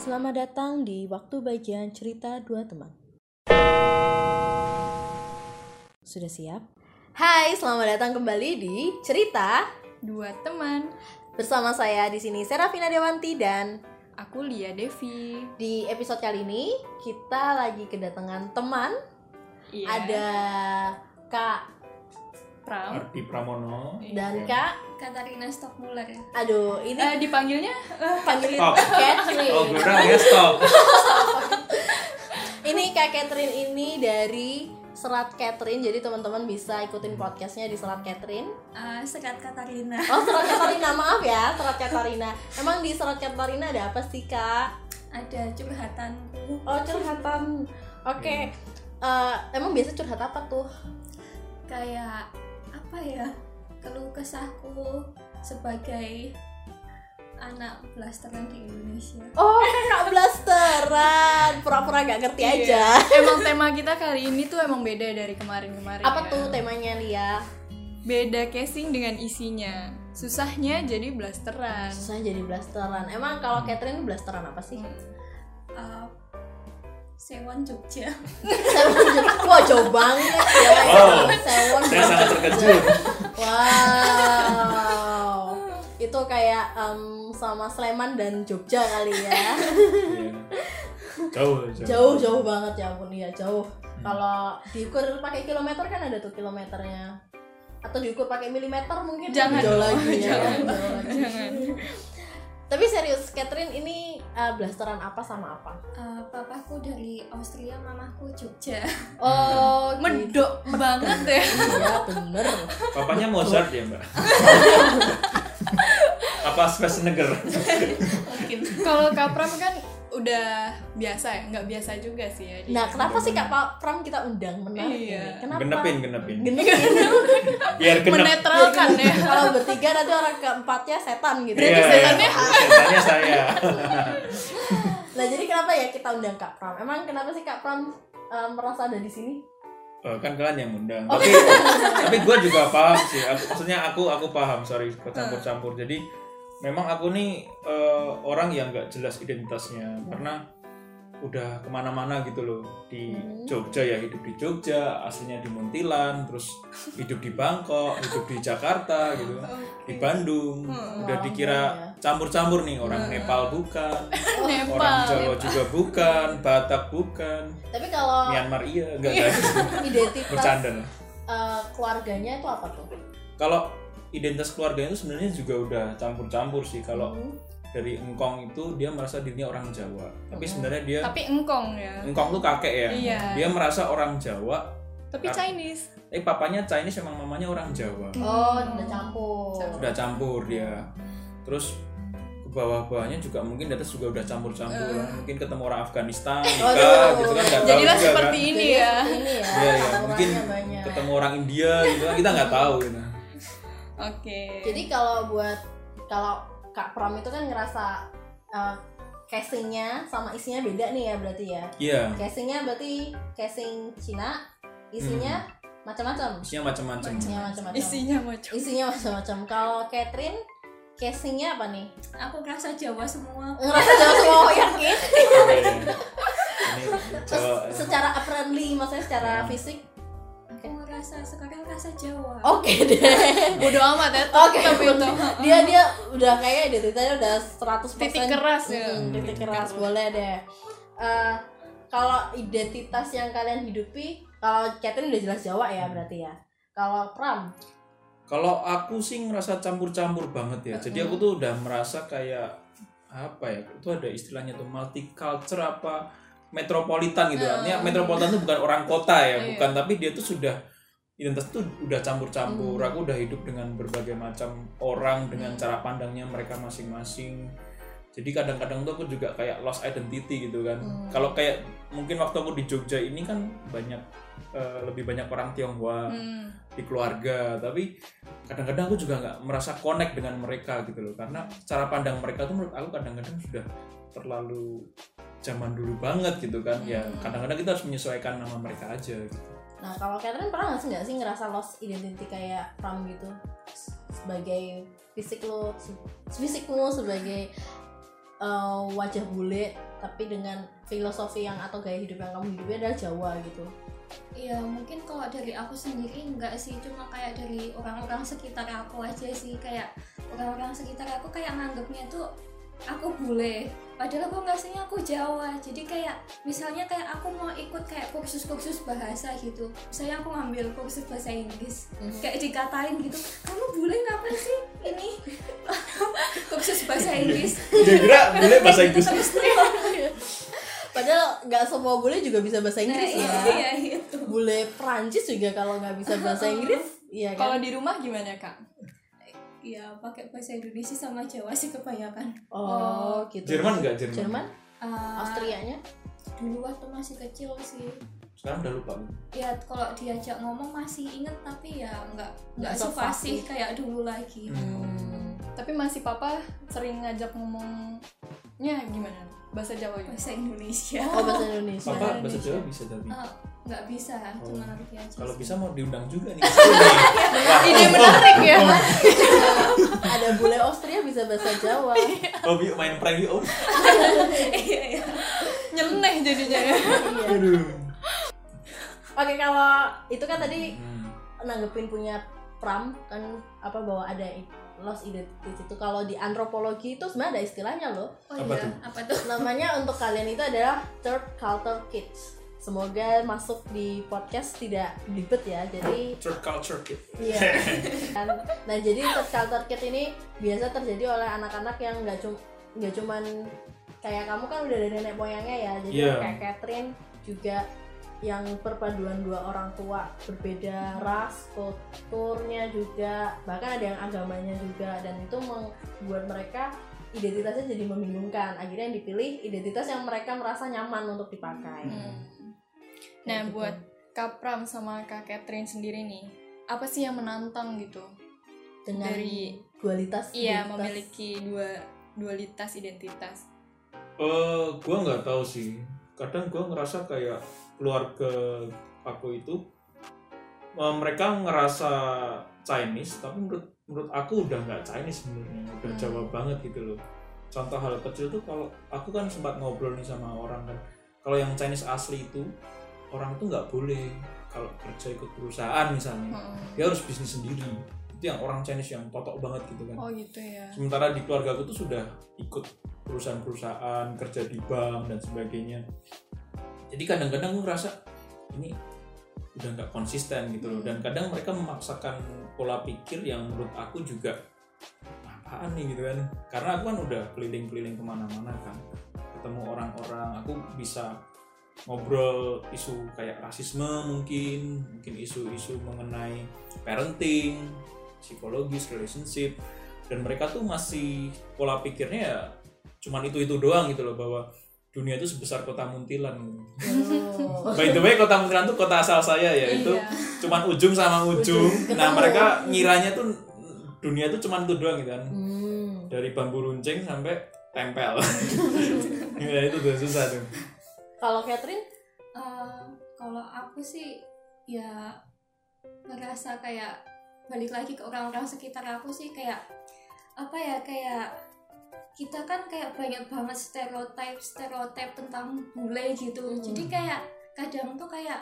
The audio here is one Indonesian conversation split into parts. Selamat datang di waktu bagian cerita dua teman. Sudah siap? Hai, selamat datang kembali di cerita Dua teman, bersama saya di sini Serafina Dewanti dan aku Lia Devi. di episode kali ini kita lagi kedatangan teman. Iya. Ada Kak Pram Arti Pramono dan Iya. Kak. Katarina Stockmuller ya. Aduh, ini Eh, dipanggilnya panggilin Stop. Catherine. Oh gue udah ya stop Ini Kak Catherine ini dari Serat Catherine, jadi teman-teman bisa ikutin podcastnya di Serat Catherine. Eh, Sekat Katarina. Oh, Serat Katarina, maaf ya, Serat Katarina. Emang di Serat Katarina ada apa sih, Kak? Ada curhatanku. Oh, curhatan. Oke. Eh, emang biasa curhat apa tuh? Kayak apa ya? Keluh kesahku sebagai anak blasteran di Indonesia. Oh, Iya. kakak blasteran. Pura-pura gak ngerti aja. emang tema kita kali ini tuh emang beda dari kemarin-kemarin. Apa ya. tuh temanya, Lia? Beda casing dengan isinya. Susahnya jadi blasteran. Susah jadi blasteran. Emang kalau Catherine blasteran apa sih? Eh, Sewon Jogja. Sewon juga. Wah, jauh banget ya. Wow. Sewon Saya sangat terkejut Iya. Wow. Itu kayak em, sama Sleman dan Jogja kali ya. Iya. Jauh Hmm. Jauh jauh banget ya ampun ya jauh. Kalau diukur pakai kilometer kan ada tuh kilometernya. Atau diukur pakai milimeter mungkin Jangan jauh dong, lagi ya. jangan. jauh lagi. Jangan. Tapi serius, Catherine ini eh, blasteran apa sama apa? Eh, papaku dari Austria, mamaku Jogja. Oh, Medok banget ya. Iya bener. Papanya Mozart ya mbak Apa Schwarzenegger Kalau Kapram kan udah biasa ya, nggak biasa juga sih ya. dia. Nah, kenapa sih Kak Pa- Pram kita undang menarik Iya. ini? Kenapa? Genepin genepin Genepin. Biar genep menetralkan ya. Kalau bertiga nanti orang keempatnya setan gitu. Berarti Iya, setannya- setannya saya Nah jadi kenapa ya kita undang Kak Pram? Emang kenapa sih Kak Pram eh, merasa ada di sini? Oh, kan kalian yang undang tapi tapi gue juga paham sih Aku- maksudnya aku aku paham sorry campur campur jadi memang aku nih eh, orang yang nggak jelas identitasnya karena udah kemana-mana gitu loh di Hmm. Jogja ya hidup di Jogja aslinya di Muntilan terus hidup di Bangkok hidup di Jakarta gitu di Bandung Hmm. udah iya, dikira campur-campur nih orang Nepal bukan orang Nepal. Jawa juga bukan Batak bukan Tapi kalau Myanmar iya enggak enggak identitas bercanda lah eh, keluarganya itu apa tuh? kalau identitas keluarganya itu sebenarnya juga udah campur-campur sih kalau Hmm. dari engkong itu dia merasa dirinya orang Jawa tapi Hmm. sebenarnya dia Tapi engkong ya. engkong tuh kakek ya Iya. dia merasa orang Jawa Tapi Chinese. eh papanya Chinese emang mamanya orang Jawa Oh, Hmm. udah campur. udah campur dia terus ke bawah-bawahnya juga mungkin di atas juga udah campur-campur mungkin ketemu orang Afghanistan nikah Aduh. gitu kan nggak tahu Jadilah juga seperti kan. ini Jadi ya. Ini ya. Iya, iya. campurannya mungkin banyak. ketemu orang India gitu kan kita nggak tahu gitu. Oke. Jadi kalau buat kalau Kak Pram itu kan ngerasa eh, casingnya sama isinya beda nih ya berarti ya. iya Casingnya berarti casing Cina, isinya Hmm. macam-macam. isinya macam-macam Isinya macam-macam. isinya macam isinya macam-macam kalau Catherine casingnya apa nih Aku rasa Jawa semua. ngerasa Jawa semua oh, yakin ini terus Jawa ya. secara apparently maksudnya secara Hmm. fisik Aku rasa sekarang rasa Jawa. oke deh bodo amat ya Oke, tapi bodo itu dia dia udah kayak identitasnya udah 100% Titik keras ya. Mm, titik Titik keras keras. boleh deh Eh, kalau identitas yang kalian hidupi kalau Catherine udah jelas Jawa ya berarti ya kalau Pram Kalau aku sih ngerasa campur-campur banget ya. Jadi aku tuh udah merasa kayak apa ya? Itu ada istilahnya tuh multicultural apa metropolitan gitu. Artinya metropolitan tuh bukan orang kota Iya. ya, bukan tapi dia tuh sudah identitas tuh udah campur-campur. Aku udah hidup dengan berbagai macam orang dengan cara pandangnya mereka masing-masing. Jadi kadang-kadang tuh aku juga kayak lost identity gitu kan. Hmm. Kalau kayak mungkin waktu aku di Jogja ini kan banyak eh, lebih banyak orang Tionghoa Hmm. di keluarga tapi kadang-kadang aku juga nggak merasa connect dengan mereka gitu loh karena cara pandang mereka tuh menurut aku kadang-kadang sudah terlalu zaman dulu banget gitu kan ya Hmm. kadang-kadang kita harus menyesuaikan nama mereka aja gitu. nah kalau Catherine pernah nggak sih nggak sih ngerasa lost identity kayak Pram gitu sebagai fisik lo se- fisikmu sebagai eh, wajah bule tapi dengan filosofi yang atau gaya hidup yang kamu hidupnya adalah Jawa gitu Ya mungkin kalau dari aku sendiri enggak sih cuma kayak dari orang-orang sekitar aku aja sih kayak orang-orang sekitar aku kayak nganggapnya tuh aku bule padahal aku ngasihnya aku Jawa jadi kayak misalnya kayak aku mau ikut kayak kursus-kursus bahasa gitu saya aku ngambil kursus bahasa Inggris Hmm. kayak dikatain gitu kamu bule ngapain sih ini kursus bahasa Inggris Iya, Dia kira bule gitu bahasa Inggris. Terus tuh, padahal nggak semua bule juga bisa bahasa Inggris iya, ya iya, gitu. bule Prancis juga kalau nggak bisa bahasa Inggris iya Kalau kan di rumah gimana kak? ya pakai bahasa Indonesia sama Jawa sih kebanyakan oh gitu Jerman nggak Jerman? Jerman Ah, Austrianya dulu waktu masih kecil sih Sekarang udah lupa. ya kalau diajak ngomong masih inget tapi ya nggak nggak Nggak sepasih kayak dulu lagi Hmm. Tapi masih papa sering ngajak ngomongnya gimana? Bahasa Jawa ya? bahasa Indonesia oh bahasa Indonesia Papa Indonesia. bahasa Jawa bisa tapi Ah. Eh, nggak bisa cuma ngerti aja kalau sih. bisa mau diundang juga nih. Iya, Wah, oh, Ide Om, menarik Om, ya. Om. ada bule Austria bisa bahasa Jawa Om yuk main prank oh, yuk Om. iya iya Nyeleneh jadinya ya. Iya. Aduh. oke kalau itu kan tadi Hmm. nanggepin punya Pram kan apa bahwa ada i- lost identity itu kalau di antropologi itu sebenarnya ada istilahnya loh oh Apa iya tuh? apa tuh namanya untuk kalian itu adalah third culture kids semoga masuk di podcast tidak belibet ya jadi Third culture kid. Iya. Dan, nah jadi third culture kid ini biasa terjadi oleh anak-anak yang nggak cum nggak cuman kayak kamu kan udah ada nenek moyangnya ya. Jadi Iya. kayak Catherine juga yang perpaduan dua orang tua berbeda ras, kulturnya juga, bahkan ada yang agamanya juga dan itu membuat mereka identitasnya jadi membingungkan. Akhirnya yang dipilih identitas yang mereka merasa nyaman untuk dipakai. Hmm. Kayak Nah gitu. buat Kak Pram sama Kak Catherine sendiri nih, apa sih yang menantang gitu? dengan dari- dualitas Iya identitas. memiliki dua dualitas identitas. Eh, gua nggak tahu sih. Kadang gua ngerasa kayak keluarga aku itu eh, mereka ngerasa Chinese, tapi menurut menurut aku udah nggak Chinese sebenarnya, udah Hmm. Jawa banget gitu loh. Contoh hal kecil tuh kalau aku kan sempat ngobrol nih sama orang kan, kalau yang Chinese asli itu orang tuh nggak boleh kalau kerja ikut perusahaan misalnya, Hmm. dia harus bisnis sendiri. Itu yang orang Chinese yang totok banget gitu kan. Oh gitu ya. sementara di keluarga aku tuh sudah ikut perusahaan-perusahaan kerja di bank dan sebagainya jadi kadang-kadang gue ngerasa ini udah nggak konsisten gitu loh dan kadang mereka memaksakan pola pikir yang menurut aku juga apaan nih gitu kan karena aku kan udah keliling-keliling kemana-mana kan ketemu orang-orang aku bisa ngobrol isu kayak rasisme mungkin mungkin isu-isu mengenai parenting psikologis relationship dan mereka tuh masih pola pikirnya ya cuman itu itu doang gitu loh bahwa dunia itu sebesar kota Muntilan Oh. by the way kota Muntilan tuh kota asal saya ya itu Iya. cuman ujung sama ujung Ujung, nah ketemu. mereka ngiranya tuh dunia tuh cuman itu doang gitu kan Hmm. dari bambu runcing sampai tempel ya itu udah susah tuh Kalau Catherine Eh, kalau aku sih ya ngerasa kayak balik lagi ke orang-orang sekitar aku sih kayak apa ya kayak kita kan kayak banyak banget stereotip stereotip tentang bule gitu Hmm. jadi kayak kadang tuh kayak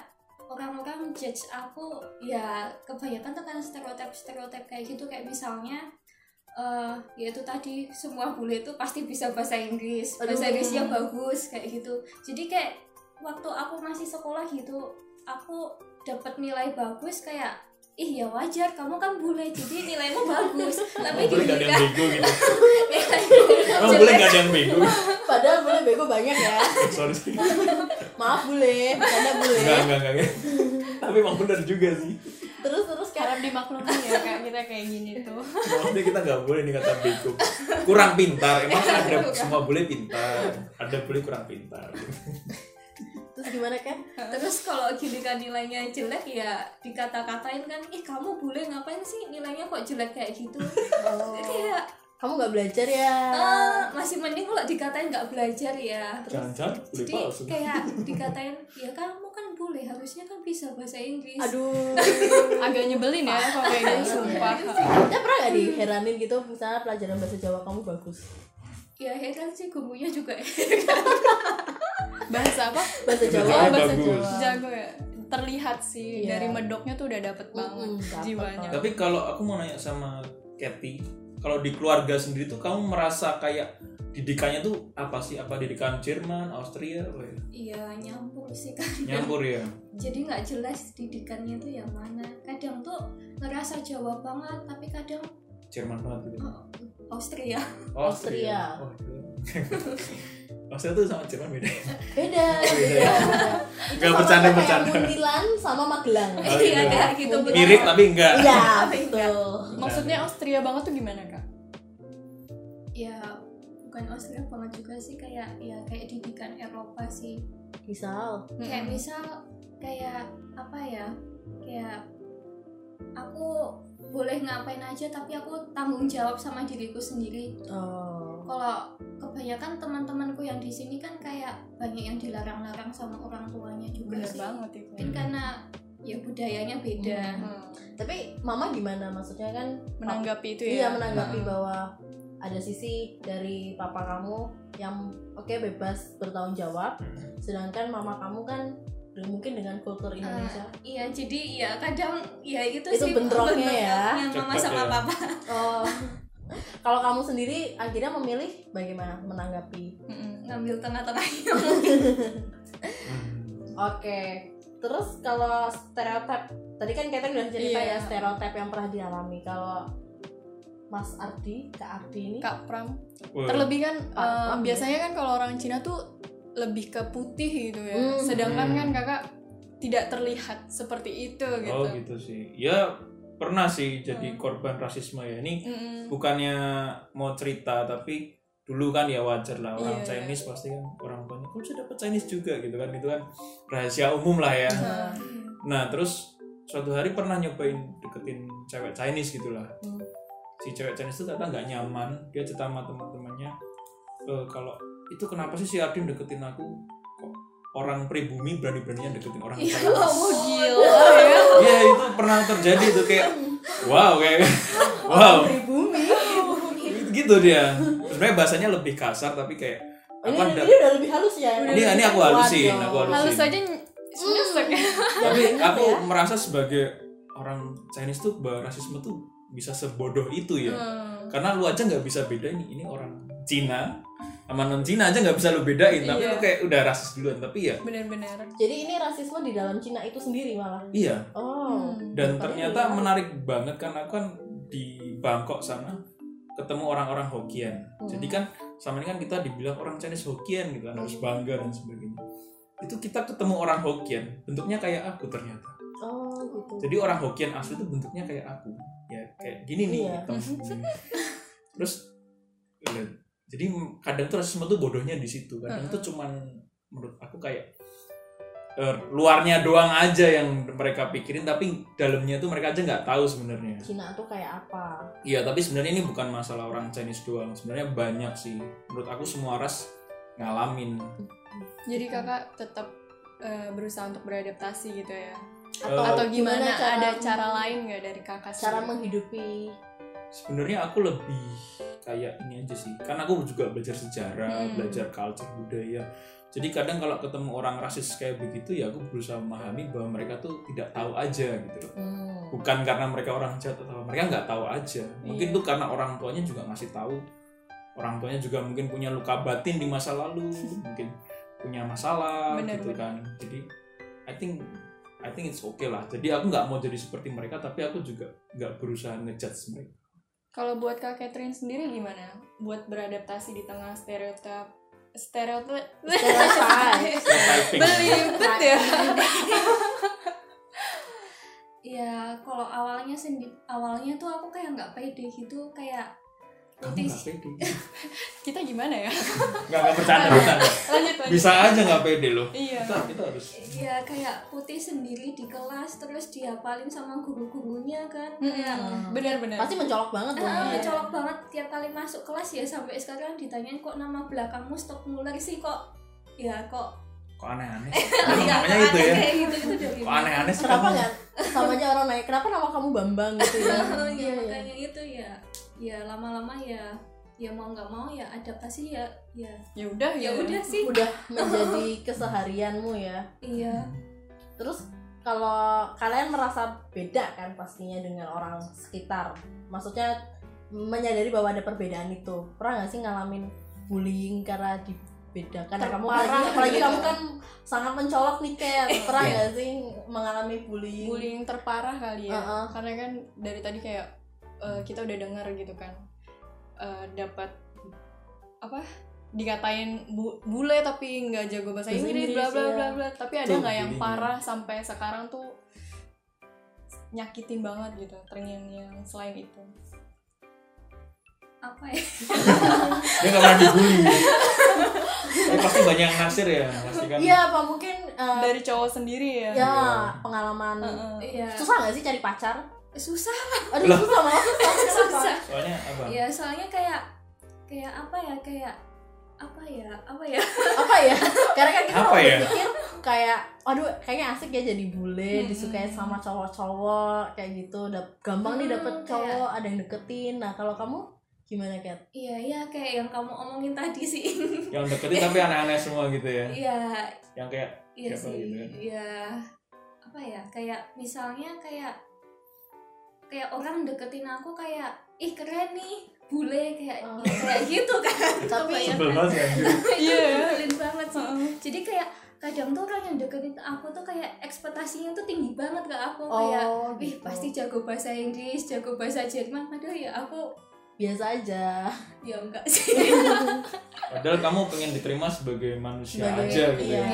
orang-orang judge aku ya kebanyakan tuh kan stereotip stereotip kayak gitu kayak misalnya eh ya itu tadi semua bule itu pasti bisa bahasa Inggris bahasa Aduh. Inggrisnya bagus kayak gitu jadi kayak waktu aku masih sekolah gitu aku dapat nilai bagus kayak ih ya wajar kamu kan bule jadi nilaimu bagus Emang tapi boleh gak ada yang ketika bego gitu Emang boleh nilai gak ada yang bego padahal kan boleh bego banyak ya. sorry Maaf boleh, bercanda enggak boleh. enggak enggak tapi emang bener juga sih Terus terus kayak Harap dimaklumi ya kak kita kayak gini tuh. Maksudnya kita nggak boleh nih kata bego. Kurang pintar. Emang ada semua boleh pintar. Ada boleh kurang pintar. terus gimana kan? terus kalau gini kan nilainya jelek ya dikata-katain kan ih kamu bule ngapain sih nilainya kok jelek kayak gitu Oh. kayak Kamu nggak belajar ya? "Eh, masih mending kalau dikatain nggak belajar ya Jangan-jangan boleh jadi palsu. kayak dikatain ya kamu kan bule harusnya kan bisa bahasa Eh. Inggris Aduh. Agak nyebelin ya kalau kayak gini sumpah. eh, Kita pernah gak diheranin gitu misalnya pelajaran bahasa Jawa kamu bagus. ya heran sih gumbunya juga bahasa apa bahasa Bahasa Jawa Jawa bahasa bagus. Jawa jago ya terlihat sih Iya. dari medoknya tuh udah dapet banget Mm-mm, dapet jiwanya banget. Tapi kalau aku mau nanya sama Kathy, kalau di keluarga sendiri tuh kamu merasa kayak didikannya tuh apa sih? Apa didikan Jerman, Austria, apa ya? iya nyampur sih kan nyampur ya? jadi nggak jelas didikannya tuh yang mana kadang tuh ngerasa Jawa banget tapi kadang Jerman banget gitu. oh, Austria Austria. Oh, iya. Austria tuh sama Jerman beda. beda Beda. beda. Itu Iya. Nggak sama bercanda, kayak bercanda. Muntilan sama Magelang Oh, iya iya. kayak gitu Mungkin. Mirip tapi enggak. iya betul maksudnya Austria banget tuh gimana kak ya bukan Austria banget juga sih kayak ya kayak didikan Eropa sih misal kayak Mm-mm. misal kayak apa ya kayak aku boleh ngapain aja tapi aku tanggung jawab sama diriku sendiri oh kalau kebanyakan teman-temanku yang di sini kan kayak banyak yang dilarang-larang sama orang tuanya juga bener sih banget itu mungkin karena ya budayanya beda Hmm. tapi mama gimana maksudnya kan menanggapi itu ya Iya Nah. menanggapi Mm-mm. bahwa ada sisi dari papa kamu yang oke bebas bertanggung jawab, sedangkan mama kamu kan de- mungkin dengan kultur Indonesia. iya jadi ya kadang ya itu, Itu sih bentroknya ya. yang mama Cocok sama ya. papa Oh, kalau kamu sendiri akhirnya memilih bagaimana menanggapi? Mm-mm. ngambil tengah-tengahnya Hmm. Oke, terus kalau stereotip tadi kan kita udah cerita ya Iya. stereotip yang pernah dialami kalau Mas Ardi, Kak Ardi ini kak Pram Wah, terlebih kan Pak eh, Pram ya? biasanya kan kalau orang Cina tuh lebih ke putih gitu ya Hmm. sedangkan Hmm. kan kakak tidak terlihat seperti itu gitu, Oh gitu sih. Ya pernah sih jadi Hmm. korban rasisme ya. Ini Mm-mm. bukannya mau cerita tapi dulu kan ya wajar lah orang Iya. Chinese pasti kan orang tuanya kamu sudah dapat Chinese juga gitu kan itu kan rahasia umum lah ya Nah, nah terus suatu hari pernah nyobain deketin cewek Chinese gitulah Hmm. si cewek Chinese itu ternyata nggak nyaman dia cerita sama teman-temannya "Eh, kalau itu kenapa sih si Adin deketin aku kok orang pribumi berani-beraninya deketin orang Iya, ya Chinese?" Allah gila ya Iya itu pernah terjadi itu kayak wow kayak wow dari bumi. gitu dia sebenarnya bahasanya lebih kasar tapi kayak Ini, Iya, aku ada ini udah lebih halus ya. ini ini aku halusin Waduh. aku halus halusin aja ny- nyesek ya. tapi Jangan aku iya. ya. merasa sebagai orang Chinese tuh bahwa rasisme tuh bisa sebodoh itu ya Hmm. karena lu aja nggak bisa bedain ini orang Cina sama non Cina aja nggak bisa lu bedain tapi Iya. lu kayak udah rasis duluan tapi ya bener-bener Jadi ini rasisme di dalam Cina itu sendiri malah. iya Oh. Hmm. dan Tapi ternyata iya. menarik banget karena aku kan di Bangkok sana ketemu orang-orang Hokkien Hmm. jadi kan sama ini kan kita dibilang orang Chinese Hokkien gitu kan harus bangga dan sebagainya itu kita ketemu orang Hokkien bentuknya kayak aku ternyata Oh gitu. jadi orang Hokkien asli itu bentuknya kayak aku ya kayak gini nih Iya. hitam gini. terus eh, jadi kadang tuh rasisme tuh bodohnya di situ kadang Mm-mm. tuh cuman menurut aku kayak eh, luarnya doang aja yang mereka pikirin tapi dalamnya tuh mereka aja nggak tahu sebenarnya Cina tuh kayak apa? iya tapi sebenarnya ini bukan masalah orang Chinese doang sebenarnya banyak sih menurut aku semua ras ngalamin jadi kakak tetap eh, berusaha untuk beradaptasi gitu ya Atau, atau gimana, cara ada cara lain nggak dari kakak cara sendiri? menghidupi? sebenarnya aku lebih kayak ini aja sih karena aku juga belajar sejarah Hmm. belajar culture budaya jadi kadang kalau ketemu orang rasis kayak begitu ya aku berusaha memahami bahwa mereka tuh tidak tahu aja gitu loh Hmm. bukan karena mereka orang jahat atau apa, mereka nggak tahu aja mungkin Iya. tuh karena orang tuanya juga ngasih tahu orang tuanya juga mungkin punya luka batin di masa lalu mungkin punya masalah Benar, gitu kan jadi I think I think it's okay lah jadi aku nggak mau jadi seperti mereka tapi aku juga nggak berusaha ngejudge mereka kalau buat kak Catherine sendiri gimana buat beradaptasi di tengah stereotip stereotip Stereotype. Stereotyping. belibet ya ya kalau awalnya sendi awalnya tuh aku kayak nggak pede gitu kayak Kamu putih nggak pede. kita gimana ya Nggak nggak bercanda bercanda. lanjut lanjut Bisa aja nggak pede loh. iya Kita kita harus. ya kayak putih sendiri di kelas terus diapalin sama guru-gurunya kan kayak Hmm. benar-benar Pasti mencolok banget tuh. Ah, Iya. colok banget tiap kali masuk kelas ya sampai sekarang ditanyain kok nama belakangmu stop muler sih kok ya kok Kok aneh-aneh. Iya, Namanya kok itu aneh ya. kayak gitu itu dari Kok aneh-aneh sih Kenapa kamu? nggak sama aja orang naik? Kenapa nama kamu Bambang gitu ya? Iya, ya Iya, iya. makanya itu ya ya lama-lama ya ya mau nggak mau ya adaptasi ya ya ya udah ya udah sih udah menjadi keseharianmu ya iya terus kalau kalian merasa beda kan pastinya dengan orang sekitar maksudnya menyadari bahwa ada perbedaan itu pernah nggak sih ngalamin bullying karena dibedakan Nah, kamu apalagi, Terparah apalagi gitu. kamu kan sangat mencolok nih kayak pernah nggak sih mengalami bullying, bullying terparah kali ya Uh-uh. karena kan dari tadi kayak eh, kita udah dengar gitu kan eh, dapat apa dikatain bu- bule tapi nggak jago bahasa Bahasa Inggris Inggris, bla bla iya. bla bla tapi ada Tuh, nggak yang bullying. parah sampai sekarang tuh nyakitin banget gitu terngiang-ngiang selain itu apa ya dia nggak pernah dibully tapi pasti banyak yang naksir ya pasti kan iya apa mungkin eh, dari cowok sendiri ya ya pengalaman Heeh. iya susah nggak sih cari pacar susah aduh Lah. susah malah susah kenapa susah soalnya apa ya soalnya kayak kayak apa ya kayak apa ya apa ya apa ya karena kan kita Apa kalau ya? berpikir kayak aduh kayaknya asik ya jadi bule Mm-mm. disukai sama cowok-cowok kayak gitu udah gampang nih Hmm, dapet kayak- cowok ada yang deketin nah kalau kamu gimana Kat? iya iya kayak yang kamu omongin tadi sih yang deketin tapi aneh-aneh semua gitu ya iya yang kayak Iya Siapa sih, gitu kan? iya apa ya kayak misalnya kayak kayak orang deketin aku kayak ih keren nih bule kayak Oh. kayak gitu kan Tapi- Kebayang sebel kan? banget ya anjir. Iya. Oh. Itu nyebelin banget sih Heeh. jadi kayak kadang tuh orang yang deketin aku tuh kayak ekspektasinya tuh tinggi banget ke aku kayak Wih gitu. pasti jago bahasa Inggris, jago bahasa Jerman Padahal ya aku, biasa aja ya enggak sih padahal kamu pengen diterima sebagai manusia Sebagai- aja gitu iya. ya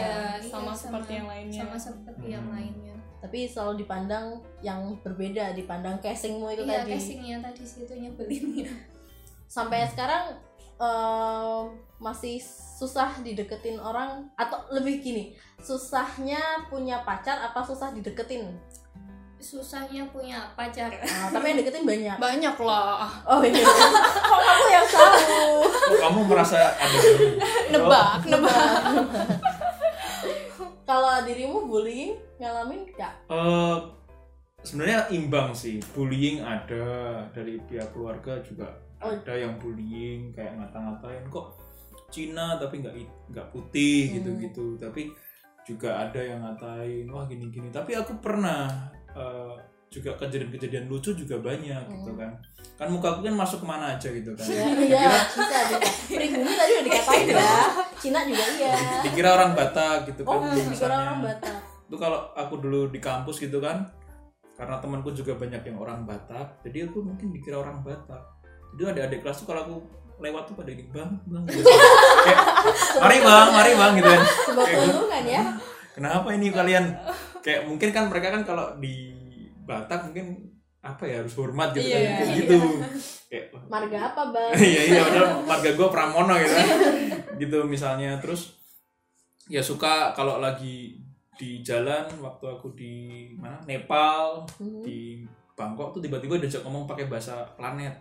Iya, sama iya, seperti yang lainnya. Sama seperti yang Hmm. lainnya tapi selalu dipandang yang berbeda dipandang casingmu itu Iya, tadi casingnya tadi situ nyebelin sampai sekarang eh, masih susah dideketin orang atau lebih gini susahnya punya pacar apa susah dideketin susahnya punya pacar Nah, tapi yang deketin banyak banyak lah Oh iya. Kok kamu yang tahu? Kok kamu merasa ada bully? nebak nebak Kalau dirimu bullying ngalamin nggak? Eh, sebenarnya imbang sih bullying ada dari pihak keluarga juga Oh. ada yang bullying kayak ngata-ngatain kok Cina tapi nggak it- nggak putih Hmm. gitu-gitu tapi juga ada yang ngatain wah gini-gini tapi aku pernah eh, juga kejadian-kejadian lucu juga banyak gitu kan kan muka aku kan masuk kemana aja gitu kan Ya, Hmm. iya, bisa juga. Pribumi tadi udah dikatain ya. Cina juga iya. dikira orang Batak gitu kan Oh, dikira misalnya. orang Batak. itu kalau aku dulu di kampus gitu kan karena temanku juga banyak yang orang Batak jadi aku mungkin dikira orang Batak jadi ada adik kelas tuh kalau aku lewat tuh pada gini bang bang gitu. Kayak, mari bang mari bang gitu kan Sebuah Kayak, keuntungan ya. kenapa ini kalian kayak mungkin kan mereka kan kalau di Batak mungkin apa ya harus hormat gitu kan Iya, Kayak iya. gitu kayak wah, Marga apa, Bang? iya iya padahal marga gue Pramono gitu kan. gitu misalnya terus ya suka kalau lagi di jalan waktu aku di mana Nepal Hmm. di Bangkok tuh tiba-tiba diajak ngomong pakai bahasa planet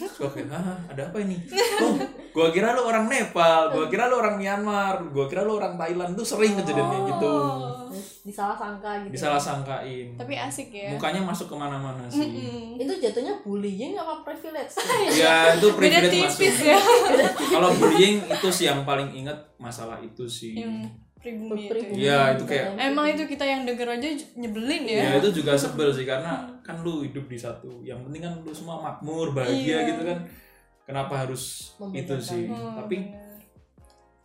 Terus gua kayak "Hah, ada apa ini oh gua kira lu orang Nepal gua kira lu orang Myanmar gua kira lu orang Thailand tuh sering kejadian kayak gitu Oh. Terus Disalah sangka gitu. disalah sangkain tapi asik ya mukanya masuk kemana-mana sih Mm-mm. Itu jatuhnya bullying apa privilege? ya itu beda privilege masuk tipis ya Iya. kalau bullying itu sih yang paling inget masalah itu sih yang Iya. pribumi itu Pribumi. ya. Iya, itu kayak- emang itu kita yang denger aja j- nyebelin ya, Hmm. Ya itu juga sebel sih karena kan lu hidup di satu, yang penting kan lu semua makmur, bahagia Iya. gitu kan. Kenapa harus itu Membedakan. sih? Hmm, Tapi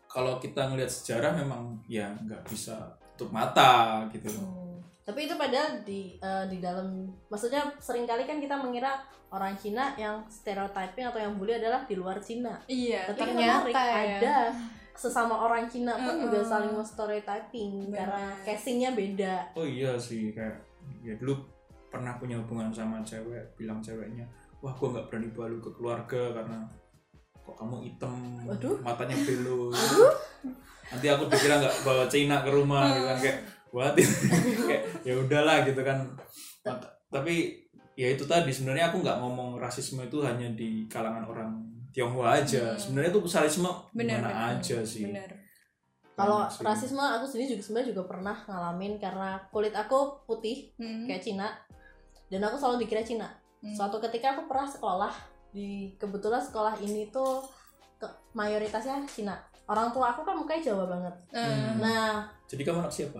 kalau kita ngelihat sejarah memang ya nggak bisa tutup mata gitu. Hmm. Tapi itu padahal di eh, di dalam maksudnya seringkali kan kita mengira orang Cina yang stereotyping atau yang bully adalah di luar Cina. iya tapi ternyata ternyata ya ada sesama orang Cina pun Mm-mm. juga saling stereotyping Benar. karena casingnya beda Oh iya sih kayak ya dulu pernah punya hubungan sama cewek, bilang ceweknya, "Wah, gua nggak berani bawa lu ke keluarga karena kok kamu hitam, Waduh. matanya belus." Nanti aku dikira nggak bawa Cina ke rumah gitu kan kayak buat kayak ya udahlah gitu kan Mat- tapi ya itu tadi sebenarnya aku nggak ngomong rasisme itu hanya di kalangan orang Tionghoa Hmm. aja sebenarnya itu salisme benar mana benar, aja sih benar kalau Sih. rasisme aku sendiri juga sebenarnya juga pernah ngalamin karena kulit aku putih Mm. kayak Cina dan aku selalu dikira Cina Mm. suatu ketika aku pernah sekolah di kebetulan sekolah ini tuh ke- mayoritasnya Cina orang tua aku kan mukanya Jawa banget Eh. Hmm. nah Jadi kamu anak siapa?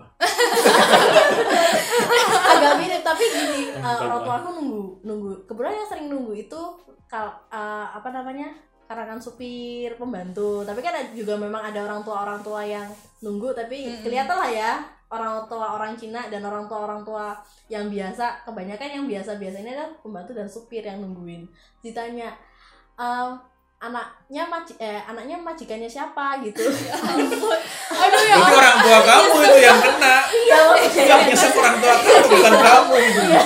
agak mirip tapi gini Eh, eh, orang tua baik-baik. aku nunggu nunggu kebetulan yang sering nunggu itu kal eh, apa namanya karangan supir pembantu tapi kan ada- juga memang ada orang tua orang tua yang nunggu tapi Mm-mm. kelihatan lah ya orang tua orang Cina dan orang tua orang tua yang biasa kebanyakan yang biasa biasanya adalah pembantu dan supir yang nungguin ditanya "Eh, anaknya maji- eh, anaknya majikannya siapa gitu aduh ya Itu orang tua kamu itu yang kena. Iya, maksudnya- Yang nyesek orang tua kamu bukan kamu. Iya.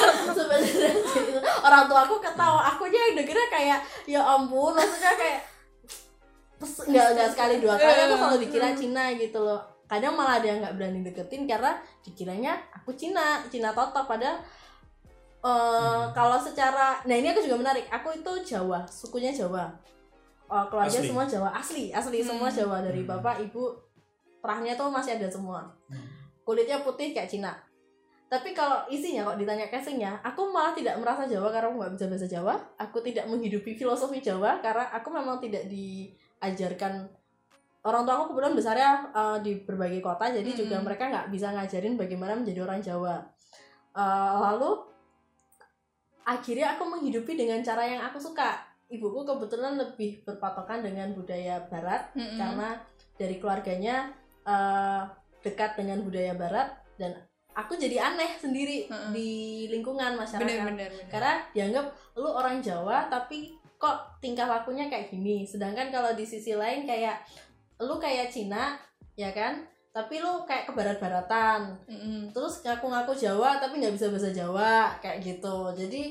sebenarnya gitu. orang tua aku ketawa aku aja yang dengernya kayak ya ampun maksudnya kayak pes- nggak nggak sekali dua kali aku selalu dikira Cina gitu loh kadang malah ada yang nggak berani deketin karena dikiranya aku Cina Cina totok padahal eh, kalau secara nah ini aku juga menarik aku itu Jawa sukunya Jawa Oh, keluarga Asli. semua Jawa asli asli semua Hmm. Jawa dari Hmm. bapak ibu terahnya tuh masih ada semua Hmm. kulitnya putih kayak Cina tapi kalau isinya kalau ditanya casingnya aku malah tidak merasa Jawa karena aku nggak bisa bahasa Jawa aku tidak menghidupi filosofi Jawa karena aku memang tidak diajarkan orang tua aku kebetulan besarnya eh, di berbagai kota jadi Mm-mm. Hmm. juga mereka nggak bisa ngajarin bagaimana menjadi orang Jawa Eh, lalu akhirnya aku menghidupi dengan cara yang aku suka ibuku kebetulan lebih berpatokan dengan budaya Barat Mm-mm. karena dari keluarganya eh, dekat dengan budaya barat dan aku jadi aneh sendiri Mm-mm. di lingkungan masyarakat Hmm. bener bener bener. karena dianggap lu orang Jawa tapi kok tingkah lakunya kayak gini sedangkan kalau di sisi lain kayak lu kayak Cina ya kan tapi lu kayak kebarat-baratan Mm-mm. terus ngaku-ngaku Jawa tapi nggak bisa bahasa Jawa kayak gitu jadi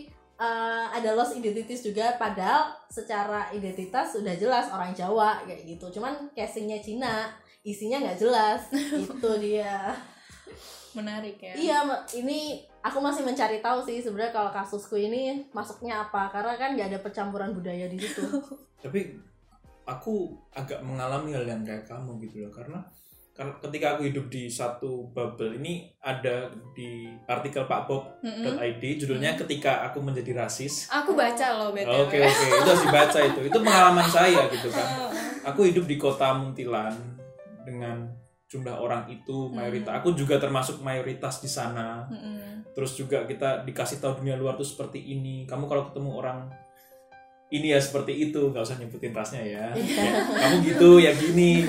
eh, ada loss identities juga padahal secara identitas sudah jelas orang Jawa kayak gitu cuman casingnya Cina isinya nggak jelas itu dia menarik ya iya Ma- ini aku masih mencari tahu sih sebenarnya kalau kasusku ini masuknya apa karena kan nggak ada percampuran budaya di situ tapi aku agak mengalami hal yang kayak kamu gitu loh karena karena ketika aku hidup di satu bubble ini ada di artikel pakbob.id Mm-mm. Hmm. judulnya ketika aku menjadi rasis aku baca loh oke btw oke itu harus dibaca itu itu pengalaman saya gitu kan aku hidup di kota Muntilan dengan jumlah orang itu mayoritas Hmm. aku juga termasuk mayoritas di sana Mm-mm. terus juga kita dikasih tahu dunia luar tuh seperti ini kamu kalau ketemu orang ini ya seperti itu nggak usah nyebutin rasnya ya Ya, Iya. kamu gitu ya gini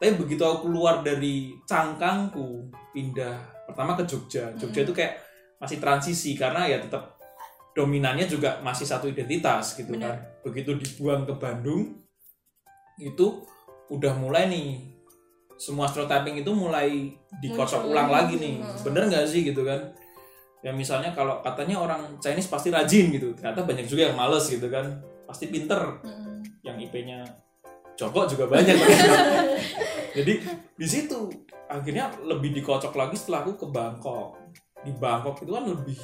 tapi begitu aku keluar dari cangkangku pindah pertama ke Jogja Jogja Mm. itu kayak masih transisi karena ya tetap dominannya juga masih satu identitas gitu kan begitu dibuang ke Bandung itu udah mulai nih semua stereotyping itu mulai dikocok Muncul. ulang lagi nih Mm. bener nggak sih gitu kan ya misalnya kalau katanya orang Chinese pasti rajin gitu ternyata banyak juga yang males gitu kan pasti pinter Mm-mm. yang IP-nya Joko juga banyak jadi di situ akhirnya lebih dikocok lagi setelah aku ke Bangkok di Bangkok itu kan lebih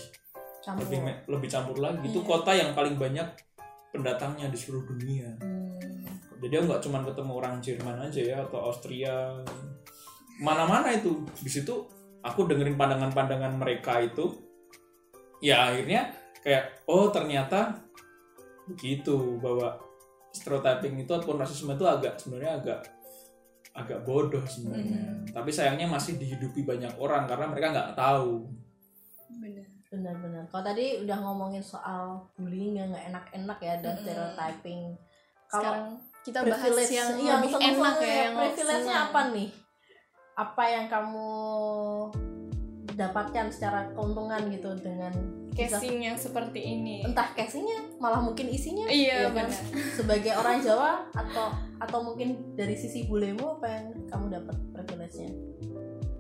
campur lebih me- lebih campur lagi itu Iya. kota yang paling banyak pendatangnya di seluruh dunia Hmm. jadi aku nggak cuma ketemu orang Jerman aja ya atau Austria mana-mana itu di situ aku dengerin pandangan-pandangan mereka itu ya akhirnya kayak oh ternyata begitu bahwa stereotyping itu ataupun rasisme itu agak sebenarnya agak agak bodoh Hmm. sebenarnya tapi sayangnya masih dihidupi banyak orang karena mereka nggak tahu bener benar-benar kalau tadi udah ngomongin soal bullying yang nggak enak-enak ya dan Mm-mm. stereotyping kalau sekarang kita bahas privilege yang iya, lebih seneng enak banget ya yang privilege-nya senang. apa nih apa yang kamu dapatkan secara keuntungan gitu dengan casing yang seperti ini entah casingnya malah mungkin isinya iya Iya kan? benar sebagai orang Jawa atau atau mungkin dari sisi bulemu apa yang kamu dapat privilege-nya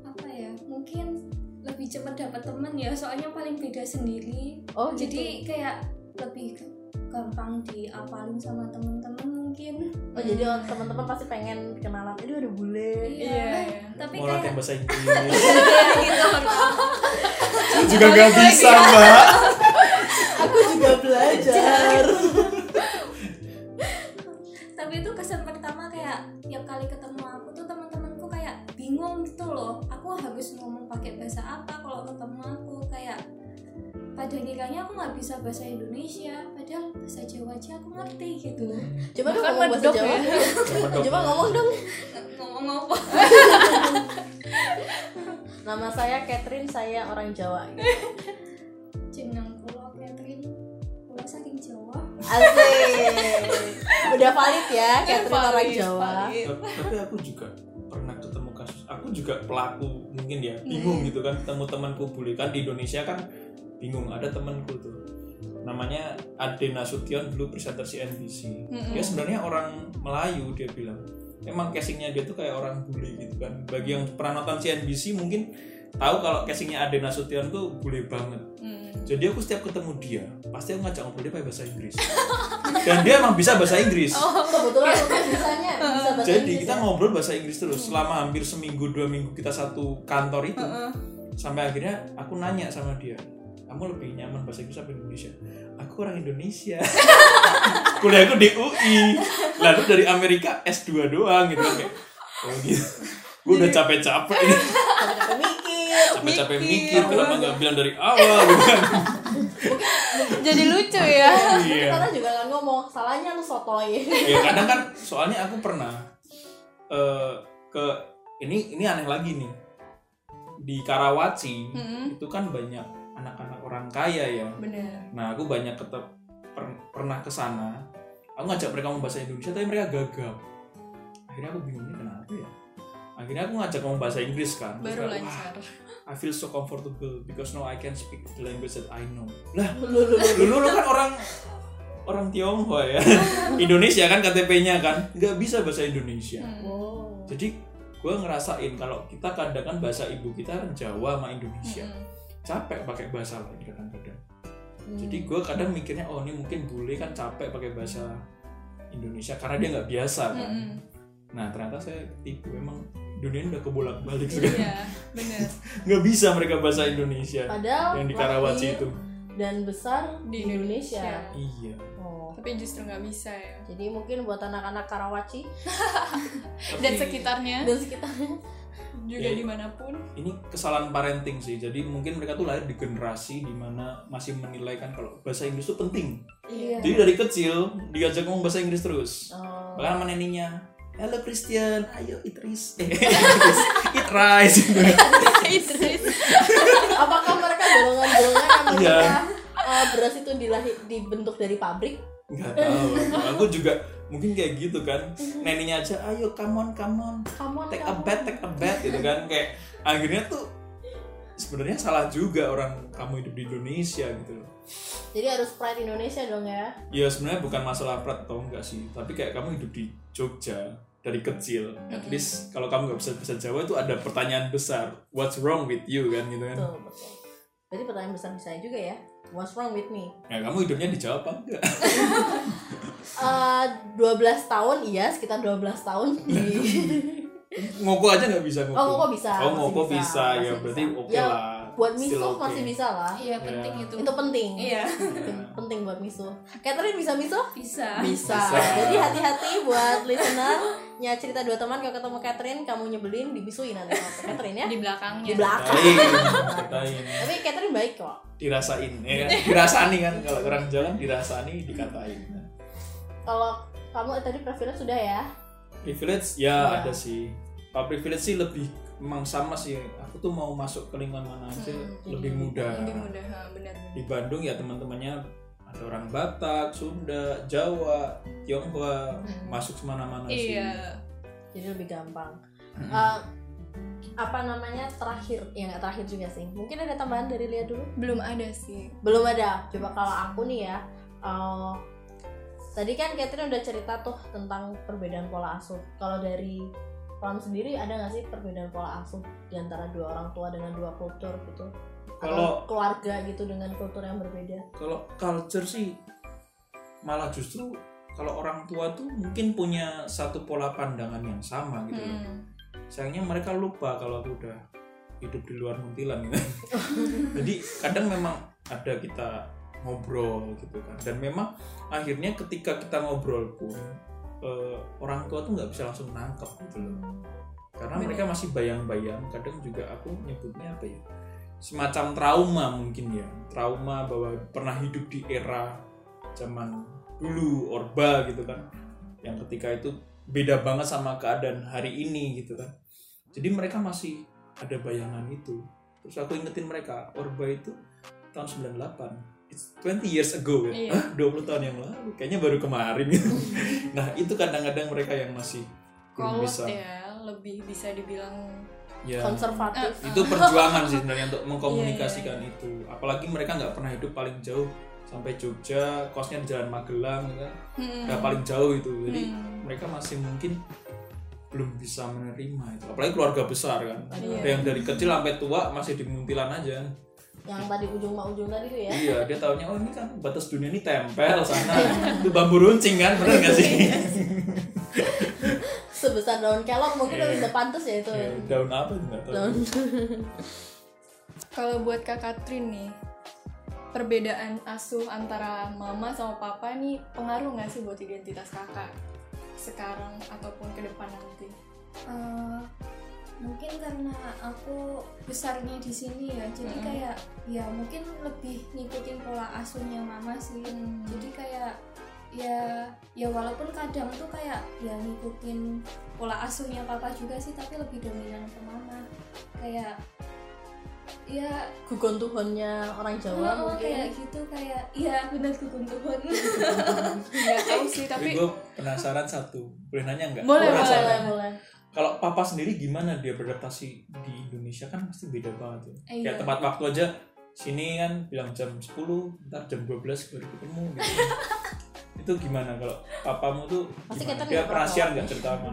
apa ya mungkin lebih cepat dapat teman ya soalnya paling beda sendiri oh jadi jadi kayak lebih gampang diapalin sama teman-teman mungkin oh jadi orang- teman-teman pasti pengen kenalan aduh ada bule hmm. iya iya. tapi mau latihan kayak bahasa Inggris gitu juga nggak bisa mbak aku juga belajar tapi itu kesan pertama kayak tiap kali ketemu aku tuh teman-temanku kayak bingung gitu loh aku harus ngomong pakai bahasa apa kalau ketemu aku kayak pada kiranya aku nggak bisa bahasa Indonesia padahal bahasa Jawa aja aku ngerti gitu Coba dong Bahkan ngomong bahasa medok Jawa. ya. Coba ngomong dong. ngomong apa Nama saya Catherine, saya orang Jawa. jeneng pulau Catherine pulau saking Jawa Asik. Udah valid ya Catherine orang Valid, Jawa. valid. tapi aku juga pernah ketemu kasus aku juga pelaku mungkin ya Hmm. bingung gitu kan ketemu temanku bule kan di Indonesia kan bingung ada temanku tuh namanya Ade Nasution dulu presenter CNBC Mm-mm. dia sebenarnya orang Melayu dia bilang emang casingnya dia tuh kayak orang bule gitu kan bagi yang pernah nonton CNBC mungkin tahu kalau casingnya Ade Nasution tuh bule banget Hmm. jadi aku setiap ketemu dia pasti aku ngajak ngobrol dia pakai bahasa Inggris dan dia emang bisa bahasa Inggris Iya. Kebetulan untuk bisanya bisa Oh, bahasa jadi Inggris kita ya. ngobrol bahasa Inggris terus selama hampir seminggu dua minggu kita satu kantor itu sampai akhirnya aku nanya sama dia kamu lebih nyaman bahasa Inggris apa Indonesia aku orang Indonesia kuliahku di UI lalu dari Amerika S2 doang gitu kan kayak oh gitu gue udah capek-capek ini Sampai mikir. capek-capek Mikir. mikir kenapa nggak bilang dari awal gitu kan Jadi lucu ya. Iya. Karena juga kan ngomong salahnya lu sotoy. ya kadang kan soalnya aku pernah eh, ke ini ini aneh lagi nih di Karawaci Mm-mm. itu kan banyak anak-anak orang kaya ya Bener. nah aku banyak ketep per- pernah ke sana aku ngajak mereka ngomong bahasa Indonesia tapi mereka gagal akhirnya aku bingungnya kenapa ya akhirnya aku ngajak ngomong bahasa Inggris kan Terus Baru kayak, lancar. "Wah, I feel so comfortable because now I can speak the language that I know lah Lu lu lu. dulu lu kan orang orang Tionghoa ya Indonesia kan KTP-nya kan nggak bisa bahasa Indonesia Hmm. Wow. jadi gue ngerasain kalau kita kadang kan bahasa ibu kita kan Jawa sama Indonesia Mm-mm. capek pakai bahasa lain kadang-kadang Hmm. jadi gue kadang mikirnya oh ini mungkin bule kan capek pakai bahasa Indonesia karena dia nggak biasa kan Hmm, Mm-mm. nah ternyata saya ketipu emang dunia ini udah kebolak balik sekarang Iya, bener. nggak bisa mereka bahasa Indonesia padahal yang di Karawaci lahir itu dan besar Di di Indonesia. Indonesia. iya Oh. Tapi justru nggak bisa ya. Jadi mungkin buat anak-anak Karawaci Dan Tapi- sekitarnya dan sekitarnya juga Iya. dimanapun. ini kesalahan parenting sih jadi mungkin mereka tuh lahir di generasi dimana masih menilaikan kalau bahasa Inggris itu penting Iya. jadi dari kecil diajak ngomong bahasa Inggris terus oh, bahkan sama neneknya hello Christian ayo eat rice Eh, eat rice Idris. apakah mereka golongan-golongan yang Iya. mereka eh, beras itu dilahir dibentuk dari pabrik? nggak tahu aku juga mungkin kayak gitu kan neneknya aja ayo come on come on Kamu take a bath take a bath gitu kan kayak akhirnya tuh sebenarnya salah juga orang kamu hidup di Indonesia gitu loh Jadi harus pride Indonesia dong ya. ya sebenarnya bukan masalah prat atau enggak sih tapi kayak kamu hidup di Jogja dari kecil at Mm-mm. least kalau kamu nggak bisa bahasa Jawa itu ada pertanyaan besar what's wrong with you kan gitu kan Betul, betul. Berarti pertanyaan besar saya juga ya. What's wrong with me? ya kamu hidupnya di Jawa apa enggak Eh 12 tahun iya, sekitar 12 tahun di ngoko aja nggak bisa ngoko Oh, ngoko bisa. oh masih ngoko bisa, ya masih berarti bisa. oke Ya, lah Buat Still misuh oke. Ya. masih bisa lah. iya penting itu Itu penting. iya Penting, penting buat misuh. Catherine bisa misuh? bisa Bisa. Bisa. Jadi hati-hati buat listener. Ya cerita dua teman kalau ketemu Catherine kamu nyebelin dibisuin nanti sama Catherine ya. Di belakangnya. Di belakang. Katain, katain, Tapi Catherine baik kok. dirasain, ya, kan? dirasani kan kalau orang Jawa kan dirasani dikatain. Kalau kamu tadi profilnya sudah ya. privilege Iya. ya Ya. ada sih kalau privilege sih lebih emang sama sih aku tuh mau masuk ke lingkungan mana aja Hmm, jadi lebih mudah Lebih mudah, ha, bener. bener. di Bandung ya teman-temannya ada orang Batak Sunda Jawa Tionghoa masuk semana-mana sih Iya. Jadi lebih gampang. Mm-mm. Eh, apa namanya terakhir ya nggak terakhir juga sih mungkin ada tambahan dari Lia dulu Belum ada sih. belum ada coba kalau aku nih ya eh, tadi kan Catherine udah cerita tuh tentang perbedaan pola asuh kalau dari Pram sendiri ada nggak sih perbedaan pola asuh di antara dua orang tua dengan dua kultur gitu atau Kalau- keluarga gitu dengan kultur yang berbeda kalau culture sih malah justru kalau orang tua tuh mungkin punya satu pola pandangan yang sama gitu loh. Hmm. sayangnya mereka lupa kalau aku udah hidup di luar muntilan gitu. jadi kadang memang ada kita ngobrol gitu kan dan memang akhirnya ketika kita ngobrol pun eh, orang tua tuh nggak bisa langsung nangkep gitu loh karena Bener. mereka masih bayang-bayang kadang juga aku nyebutnya apa ya semacam trauma mungkin ya trauma bahwa pernah hidup di era zaman dulu orba gitu kan yang ketika itu beda banget sama keadaan hari ini gitu kan jadi mereka masih ada bayangan itu terus aku ingetin mereka orba itu tahun 98 it's 20 years ago ya Iya. Hah, 20 tahun yang lalu kayaknya baru kemarin gitu nah itu kadang-kadang mereka yang masih belum kolot bisa ya lebih bisa dibilang ya konservatif itu perjuangan sih sebenarnya Iya, untuk mengkomunikasikan itu apalagi mereka nggak pernah hidup paling jauh sampai Jogja kosnya di Jalan Magelang gitu kan hmm, nggak paling jauh itu jadi hmm, mereka masih mungkin belum bisa menerima itu apalagi keluarga besar kan Iya. ada yang dari kecil sampai tua masih dimuntilan aja yang tadi ujung ma ujung tadi itu ya iya dia tahunya oh ini kan batas dunia ini tempel sana itu bambu runcing kan benar nggak sih Iya, sebesar daun kelok mungkin Iya. udah bisa pantas ya itu Ya, daun apa juga tahu daun kalau buat kak Katrin nih perbedaan asuh antara mama sama papa nih pengaruh nggak sih buat identitas kakak sekarang ataupun ke depan nanti Eh, mungkin karena aku besarnya di sini ya jadi Mm-mm. kayak ya mungkin lebih ngikutin pola asuhnya mama sih jadi kayak ya ya walaupun kadang tuh kayak ya ngikutin pola asuhnya papa juga sih tapi lebih dominan ke mama kayak ya gugon tuhonnya orang Jawa oh, mungkin kayak gitu kayak ya benar gugun Tuhan nggak tahu sih tapi tapi gue penasaran satu boleh nanya nggak Boleh, Gua boleh penasaran. boleh boleh kalau papa sendiri gimana dia beradaptasi di Indonesia kan pasti beda banget ya. Iya. Kayak tempat waktu aja sini kan bilang jam 10, ntar jam 12 baru ketemu gitu. itu gimana kalau papamu tuh Pasti gimana? kita dia nggak pernah pernah share tahu. nggak cerita sama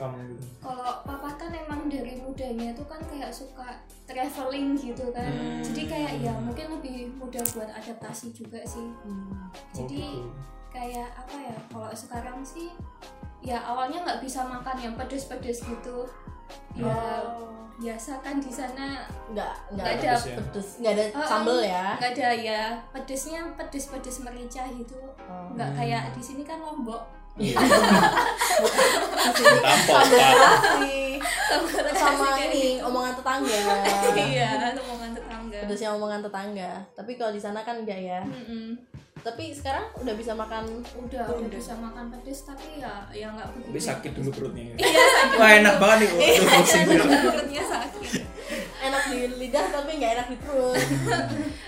kamu gitu? kalau papa kan emang dari mudanya tuh kan kayak suka traveling gitu kan Hmm. jadi kayak ya mungkin lebih mudah buat adaptasi juga sih Hmm. Oh, gitu. jadi kayak apa ya kalau sekarang sih ya awalnya nggak bisa makan yang pedes-pedes gitu ya eh, biasa kan di sana nggak nggak ada Nggak ada. Terus ya. pedes nggak ada Oh, sambel oh. ya nggak ada ya pedesnya pedes-pedes merica gitu Oh. nggak Hmm. kayak di sini kan lombok Iya. sambel Tampol, Pak. terasi sama ini omongan tetangga iya omongan tetangga pedesnya omongan tetangga tapi kalau di sana kan enggak ya Mm-mm. tapi sekarang udah bisa makan udah udah Udah. bisa makan pedes tapi ya ya nggak begitu Oh, Tapi sakit dulu perutnya. ya. iya sakit Wah enak banget nih. Oh, Iya, pusing sakit gitu. dulu, perutnya sakit enak di lidah tapi nggak enak di perut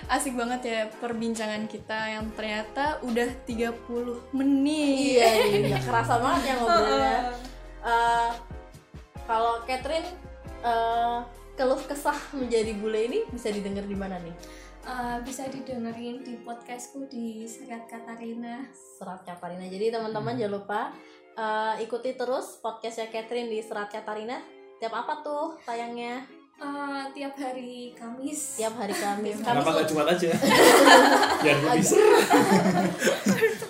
asik banget ya perbincangan kita yang ternyata udah 30 menit iya iya kerasa banget ya ngobrolnya Oh, Eh, kalau Catherine eh, keluh kesah menjadi bule ini bisa didengar di mana nih Eh, bisa didengerin di podcastku di Serat Katarina Serat Katarina jadi Hmm. teman-teman jangan lupa eh, ikuti terus podcastnya Catherine di Serat Katarina tiap apa tuh tayangnya Eh, tiap hari Kamis tiap hari Kamis Kamis Kenapa nggak Jumat aja? Biar gue bisa.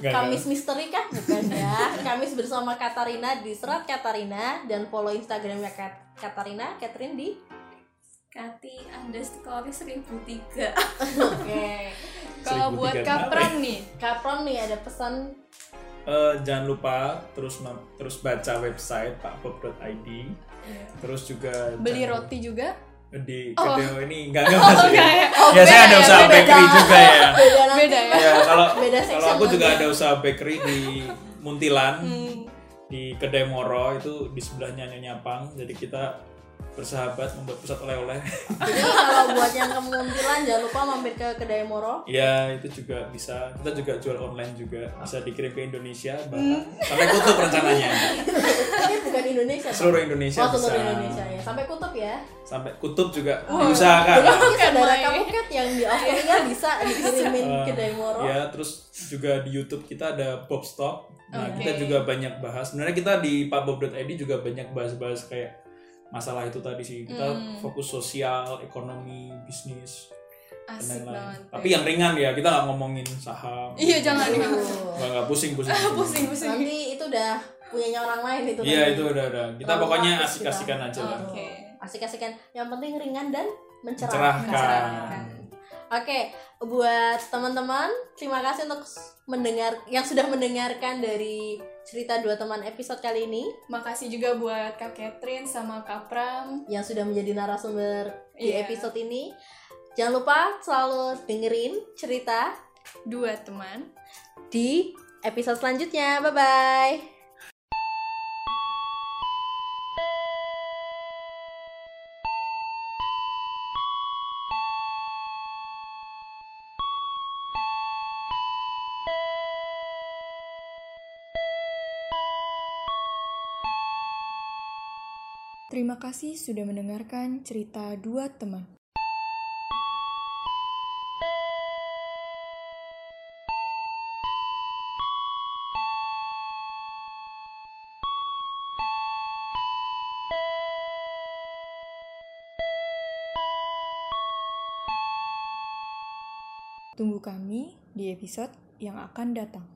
Nggak, Kamis misteri kah? Bukan ya. Kamis bersama Katarina di Serat Katarina dan follow Instagramnya Kat Katarina, Catherine di. Kati underscore 1003 Oke. kalau 1003 buat kenapa kapran nih Kapron nih ada pesan. Eh, jangan lupa terus ma- terus baca website pakbob.id Iya. terus juga beli jangan- roti juga di Oh. video ini enggak enggak masuk ya. ya ya saya beda ada ya, usaha beda. bakery juga ya Beda nanti. beda ya ya kalau Beda kalau section aku juga nanti. ada usaha bakery di Muntilan Hmm, di kedai Moro itu di sebelahnya Nyonya Pang jadi kita bersahabat membuat pusat oleh-oleh Jadi kalau buat yang kemuntilan jangan lupa mampir ke kedai Moro. ya itu juga bisa kita juga jual online juga bisa dikirim ke Indonesia Hmm. bahkan sampai tutup rencananya Tapi bukan Indonesia. Pak. seluruh Indonesia Oh, bisa seluruh Indonesia ya. Oh. Sampai kutub ya. sampai kutub juga Wah. Jadi diusahakan mungkin Iya, saudara Mai. kamu Kat yang di Australia bisa dikirimin Eh, kedai Moro. Ya, terus juga di YouTube kita ada Bob Stop. Nah, Oke. kita juga banyak bahas. Sebenarnya kita di pakbob.id juga banyak bahas-bahas kayak masalah itu tadi sih. Kita Hmm. fokus sosial, ekonomi, bisnis, dan asik lain-lain. banget Tapi ya. yang ringan ya, kita nggak ngomongin saham. iya jangan Tuh. Nggak nggak pusing-pusing. pusing pusing Nanti itu udah punyanya orang lain itu. kan. Iya, nanti. itu udah udah. Kita Terlalu pokoknya praktis kita. asik-asikan aja lah. Oke. Asik-asikan. Yang penting ringan dan mencerahkan. Mencerahkan. Oke, buat teman-teman, terima kasih untuk s- mendengar yang sudah mendengarkan dari cerita dua teman episode kali ini makasih juga buat kak Catherine sama kak Pram yang sudah menjadi narasumber di Iya. episode ini. Jangan lupa selalu dengerin cerita Dua teman di episode selanjutnya. Bye bye. Terima kasih sudah mendengarkan cerita dua teman. Tunggu kami di episode yang akan datang.